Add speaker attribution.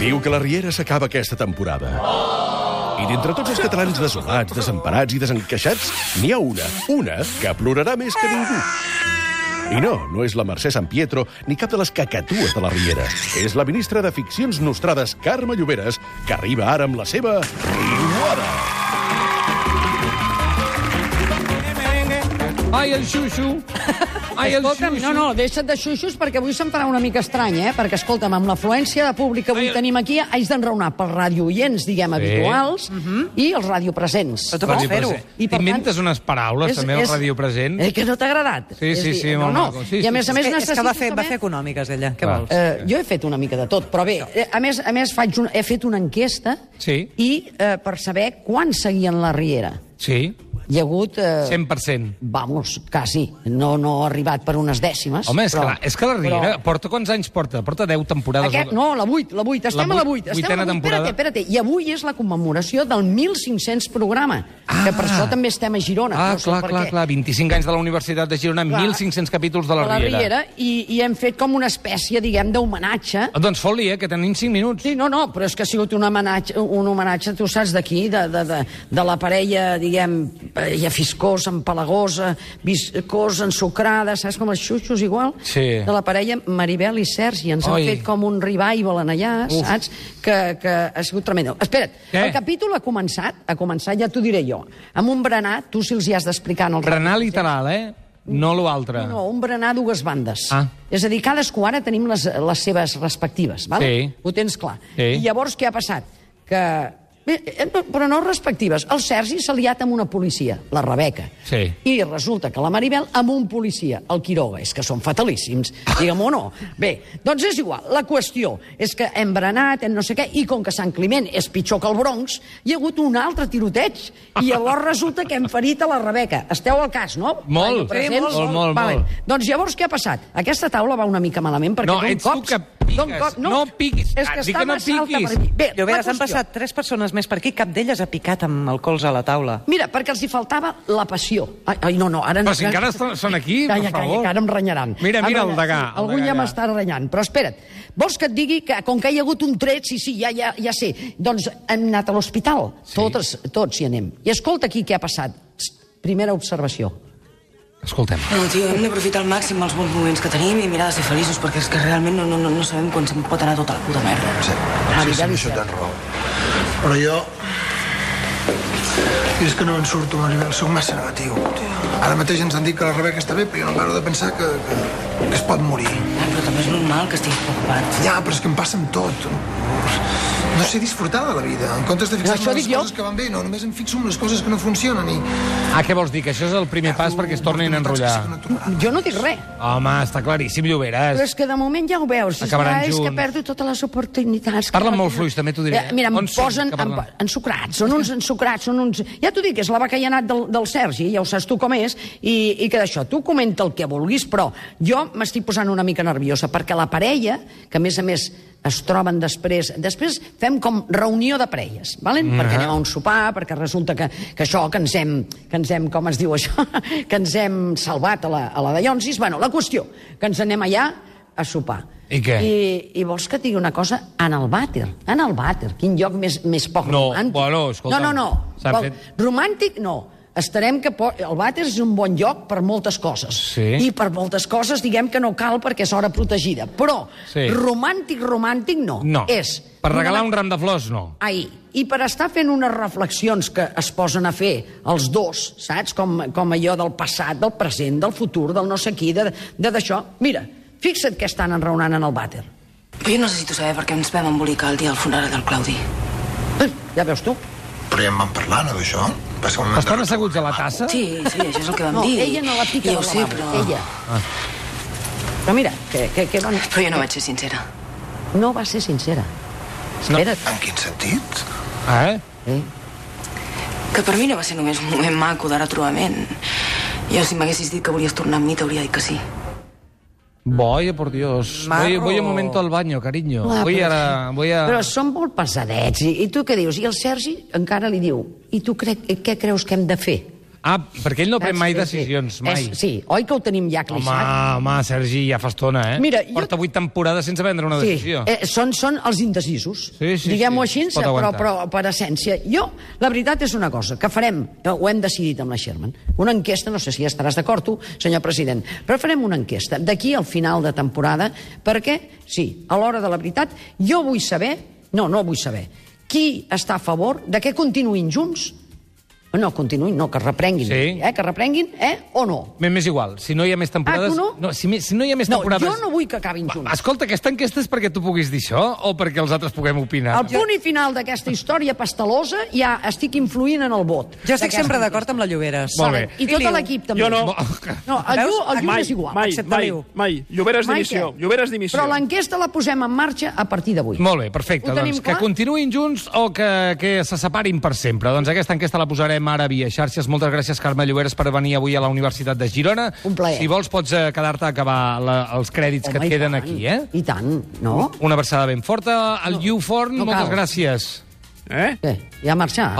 Speaker 1: diu que la Riera s'acaba aquesta temporada. I d'entre tots els catalans desolats, desemparats i desencaixats, n'hi ha una, una, que plorarà més que ningú. I no, no és la Mercè San Pietro ni cap de les cacatues de la Riera. És la ministra de Ficcions Nostrades, Carme Lloberes, que arriba ara amb la seva... Riuada!
Speaker 2: Ai, el xuxu! Ai, el
Speaker 3: Escolta'm,
Speaker 2: xuxu!
Speaker 3: no, no, deixa't de xuxos perquè avui se'm farà una mica estrany, eh? Perquè, escolta'm, amb l'afluència de públic que avui
Speaker 2: Ai,
Speaker 3: tenim aquí, haig d'enraonar pels radioients, diguem, habituals,
Speaker 2: Mhm.
Speaker 3: i els radiopresents.
Speaker 4: Però tu vols fer-ho.
Speaker 3: I, per tant,
Speaker 2: T'inventes unes paraules, també, al ràdio present.
Speaker 3: Eh, que no t'ha agradat.
Speaker 2: Sí,
Speaker 3: És
Speaker 2: sí,
Speaker 3: dir,
Speaker 2: sí,
Speaker 3: no,
Speaker 2: molt
Speaker 3: no.
Speaker 2: maco. Sí,
Speaker 3: I
Speaker 2: sí,
Speaker 3: a
Speaker 2: sí.
Speaker 3: més a més
Speaker 4: Eh, és que
Speaker 3: necessito
Speaker 4: va fer, va
Speaker 3: saber-
Speaker 4: fer econòmiques, ella. Què
Speaker 2: Va.
Speaker 4: vols?
Speaker 3: Eh, jo he fet una mica de tot, però bé, eh, a més, a més faig una, he fet una enquesta
Speaker 2: Sí.
Speaker 3: i eh, per saber quan seguien la Riera.
Speaker 2: Sí,
Speaker 3: Hi ha hagut... Eh,
Speaker 2: 100%.
Speaker 3: Vamos, quasi. No, no ha arribat per unes dècimes.
Speaker 2: Home, és,
Speaker 3: però-
Speaker 2: que, la, és que la Riera però... porta quants anys porta? Porta 10 temporades.
Speaker 3: Aquest, no, la 8, la 8. Estem
Speaker 2: La
Speaker 3: a la
Speaker 2: vuit-
Speaker 3: 8. Estem a la
Speaker 2: vuitena
Speaker 3: 8.
Speaker 2: temporada.
Speaker 3: Espera't, espera't. I avui és la commemoració del 1500 programa, ah. que per això també estem a Girona.
Speaker 2: Ah,
Speaker 3: no sé
Speaker 2: clar,
Speaker 3: per
Speaker 2: clar,
Speaker 3: què.
Speaker 2: clar. 25 anys de la Universitat de Girona,
Speaker 3: Clar.
Speaker 2: 1.500 capítols de la
Speaker 3: A
Speaker 2: Riera.
Speaker 3: i, I hem fet com una espècie, diguem, d'homenatge.
Speaker 2: Ah, Doncs fot-li, eh, que tenim 5 minuts.
Speaker 3: Sí, no, no, però és que ha sigut un homenatge, un homenatge tu saps d'aquí, de, de, de, de la parella, diguem, parella fiscosa, empalagosa, viscosa, ensucrada, saps com els xuxos igual?
Speaker 2: Sí.
Speaker 3: De la parella Maribel i Sergi. Ens
Speaker 2: Ai.
Speaker 3: han fet com un revival en allà,
Speaker 2: Uf.
Speaker 3: saps? Que, que ha sigut tremendo. Espera't,
Speaker 2: Què?
Speaker 3: el capítol ha començat, ha començat, ja t'ho diré jo, amb un berenar, tu si els hi has d'explicar en el
Speaker 2: Berenar literal, eh? No l'altre.
Speaker 3: no, un berenar a dues bandes.
Speaker 2: Ah.
Speaker 3: És a dir, cadascú ara tenim les, les seves respectives, val?
Speaker 2: Sí.
Speaker 3: Ho tens clar.
Speaker 2: Sí.
Speaker 3: I llavors què ha passat? Que... Bé, eh, no, Però no respectives. El Sergi s'ha liat amb una policia, la Rebeca.
Speaker 2: Sí.
Speaker 3: I resulta que la Maribel amb un policia, el Quiroga. És que són fatalíssims, diguem-ho o no. Bé, doncs és igual. La qüestió és que hem berenat, hem no sé què, i com que Sant Climent és pitjor que el Bronx, hi ha hagut un altre tiroteig. I llavors resulta que hem ferit a la Rebeca. Esteu al cas, no?
Speaker 2: Molt.
Speaker 3: Presents?
Speaker 2: Sí, molt, molt, molt,
Speaker 3: Vale.
Speaker 2: molt.
Speaker 3: Doncs llavors què ha passat? Aquesta taula va una mica malament perquè
Speaker 2: No,
Speaker 3: d'un
Speaker 2: ets
Speaker 3: cop...
Speaker 2: tu que piques.
Speaker 3: d'un
Speaker 2: No piquis.
Speaker 3: És
Speaker 2: Ah,
Speaker 3: que
Speaker 2: dic
Speaker 3: està
Speaker 2: que no
Speaker 3: massa alta
Speaker 2: piquis.
Speaker 3: per mi. Bé, la
Speaker 4: Lloberes, han
Speaker 3: qüestió-
Speaker 4: passat tres persones més per aquí, cap d'elles ha picat amb el colze a la taula.
Speaker 3: Mira, perquè els hi faltava la passió. Ai, ai no, no, ara...
Speaker 2: Però
Speaker 3: no-
Speaker 2: si encara estan- són aquí, per
Speaker 3: calla,
Speaker 2: favor.
Speaker 3: Calla, que ara em renyaran.
Speaker 2: Mira,
Speaker 3: Em
Speaker 2: mira el
Speaker 3: renyaran,
Speaker 2: degà,
Speaker 3: sí,
Speaker 2: el
Speaker 3: algun
Speaker 2: degà
Speaker 3: ja
Speaker 2: allà.
Speaker 3: m'està renyant. Però espera't, vols que et digui que com que hi ha hagut un tret, sí, sí, ja, ja, ja sé, doncs hem anat a l'hospital. Sí. Totes, tots hi anem. I escolta aquí què ha passat. Psst, primera observació.
Speaker 2: Escoltem.
Speaker 5: No, tio, hem d'aprofitar al màxim els bons moments que tenim i mirar de ser feliços, perquè és que realment no, no, no, no sabem quan se'n pot anar tota la puta merda.
Speaker 6: Sí, sí, sí, això tens raó. Però jo... Jo és que no en surto, Maribel, sóc massa negatiu. Ara mateix ens han dit que la Rebeca està bé, però jo no paro de pensar que, que, que es pot morir.
Speaker 5: Ah, però també és normal que estiguis preocupat.
Speaker 6: Ja, però és que em passa amb tot. No sé disfrutar de la vida. En comptes de
Speaker 3: això
Speaker 6: fixar-me en les
Speaker 3: dic jo.
Speaker 6: coses que van bé, no, només em fixo en les coses que no funcionen i...
Speaker 2: Ah, què vols dir? Que això Ah, és el primer pas perquè es tornin a enrotllar.
Speaker 3: Jo no dic res.
Speaker 2: Home, està claríssim,
Speaker 3: Però
Speaker 2: Lloberes.
Speaker 3: és que de moment ja ho veus.
Speaker 2: Acabaran
Speaker 3: ja, és que
Speaker 2: junts.
Speaker 3: perdo totes les oportunitats.
Speaker 2: Parlen
Speaker 3: Que
Speaker 2: molt
Speaker 3: no-
Speaker 2: fluix, també t'ho diré.
Speaker 3: Eh, Mira, em
Speaker 2: On són,
Speaker 3: posen
Speaker 2: que
Speaker 3: em,
Speaker 2: parlen?
Speaker 3: po- ensucrats, són uns ensucrats, són uns... Ja t'ho dic, és la bacallanat del, del Sergi, ja ho saps tu com és, i, i que d'això, tu comenta el que vulguis, però jo m'estic posant una mica nerviosa, perquè la parella, que a més a més es troben després... Després fem com reunió de parelles, valen?
Speaker 2: Mhm.
Speaker 3: perquè anem a un sopar, perquè resulta que, que això, que ens hem, que ens hem, com es diu això, que ens hem salvat a la, a la de Llonsis. Bueno, la qüestió, que ens anem allà a sopar.
Speaker 2: I què?
Speaker 3: I, i vols que et digui una cosa? En el vàter, en el vàter. Quin lloc més, més poc
Speaker 2: No,
Speaker 3: romàntic.
Speaker 2: bueno, escolta'm,
Speaker 3: No, no,
Speaker 2: s'ha
Speaker 3: no. Vol,
Speaker 2: fet-
Speaker 3: romàntic, no. Estarem que po... el vàter és un bon lloc per moltes coses.
Speaker 2: Sí.
Speaker 3: I per moltes coses diguem que no cal perquè és hora protegida. Però
Speaker 2: Sí.
Speaker 3: romàntic, romàntic, no.
Speaker 2: No.
Speaker 3: És...
Speaker 2: Per regalar un
Speaker 3: una-
Speaker 2: ram de flors, no.
Speaker 3: Ai, i per estar fent unes reflexions que es posen a fer els dos, saps? Com, com allò del passat, del present, del futur, del no sé qui, de de- d'això. Mira, fixa't que estan enraonant en el vàter.
Speaker 5: Però jo necessito saber per què ens vam embolicar el dia del funeral del Claudi.
Speaker 3: Eh, Ja veus tu?
Speaker 6: Però ja en vam parlar, no, d'això? Va ser un moment de
Speaker 2: Estan asseguts a la tassa?
Speaker 5: Sí, sí, això és el que vam
Speaker 3: No,
Speaker 5: dir.
Speaker 3: ella no la pica
Speaker 5: Ja
Speaker 3: del
Speaker 5: ho sé,
Speaker 3: lavabo,
Speaker 5: però...
Speaker 3: ella.
Speaker 2: Ah.
Speaker 3: Però mira, que, que, que bon...
Speaker 5: Però jo no vaig ser sincera.
Speaker 3: no va ser sincera.
Speaker 2: No.
Speaker 3: Espera't.
Speaker 6: En quin sentit?
Speaker 2: Eh?
Speaker 3: Eh?
Speaker 5: Que per mi no va ser només un moment maco de retrobament. Jo, si m'haguessis dit que volies tornar amb mi, t'hauria dit que sí.
Speaker 2: Vaya, por Dios. Voy,
Speaker 4: Marro.
Speaker 2: voy un momento al baño, cariño.
Speaker 3: Clar,
Speaker 2: Voy a... Voy a...
Speaker 3: Però són molt pesadets. I, I tu què dius? I el Sergi encara li diu, i tu cre... què creus que hem de fer?
Speaker 2: Ah, perquè ell no pren mai
Speaker 3: Sí, sí.
Speaker 2: decisions, mai.
Speaker 3: És, sí, oi que ho tenim ja
Speaker 2: Home,
Speaker 3: clissat?
Speaker 2: home, Sergi, ja fa estona, eh?
Speaker 3: Mira, jo-
Speaker 2: Porta vuit temporades sense prendre una
Speaker 3: Sí,
Speaker 2: decisió.
Speaker 3: eh, són, són els indecisos,
Speaker 2: Sí, sí,
Speaker 3: diguem-ho
Speaker 2: sí,
Speaker 3: així,
Speaker 2: es pot
Speaker 3: però,
Speaker 2: aguantar.
Speaker 3: però per essència. Jo, la veritat és una cosa, que farem, eh, ho hem decidit amb la Sherman, una enquesta, no sé si estaràs d'acord tu, senyor president, però farem una enquesta d'aquí al final de temporada, perquè, sí, a l'hora de la veritat, jo vull saber, no, no vull saber, qui està a favor de que continuïn junts, no, continuïn, no, que reprenguin,
Speaker 2: Sí.
Speaker 3: eh, que reprenguin, eh, o no.
Speaker 2: M'és m'és igual, si no hi ha més temporades...
Speaker 3: Ah, tu
Speaker 2: No,
Speaker 3: no?
Speaker 2: si, mi- si no hi ha més
Speaker 3: No,
Speaker 2: temporades...
Speaker 3: jo no vull que acabin junts.
Speaker 2: Escolta, aquesta enquesta és perquè tu puguis dir això o perquè els altres puguem opinar?
Speaker 3: Al punt i final d'aquesta història pastalosa ja estic influint en el vot.
Speaker 4: Jo estic
Speaker 3: D'aquesta-
Speaker 4: sempre d'acord amb la Lloberes.
Speaker 2: Molt bé.
Speaker 3: I tot
Speaker 4: Filiu.
Speaker 3: l'equip també.
Speaker 7: Jo no.
Speaker 3: No, el Llu, el Llu
Speaker 7: mai,
Speaker 3: és igual.
Speaker 7: mai,
Speaker 4: excepte
Speaker 7: mai,
Speaker 4: Liu.
Speaker 7: mai. Lloberes
Speaker 3: Mai
Speaker 7: dimissió.
Speaker 3: què?
Speaker 7: Lloberes dimissió.
Speaker 3: Però l'enquesta la posem en marxa a partir d'avui.
Speaker 2: Molt bé, perfecte.
Speaker 3: Ho tenim
Speaker 2: Doncs que
Speaker 3: clar?
Speaker 2: continuïn junts o que, que se separin per sempre. Doncs aquesta enquesta la posarem ara via xarxes. Moltes gràcies, Carme Lloberes, per venir avui a la Universitat de Girona.
Speaker 3: Un plaer.
Speaker 2: Si vols, pots eh, quedar-te a acabar la, els crèdits que
Speaker 3: i
Speaker 2: et queden
Speaker 3: tant.
Speaker 2: aquí, eh?
Speaker 3: I tant, no?
Speaker 2: Una versada ben forta. El no, Forn,
Speaker 3: no
Speaker 2: moltes
Speaker 3: cal.
Speaker 2: gràcies.
Speaker 7: Eh?
Speaker 3: Què? Ja ha marxat?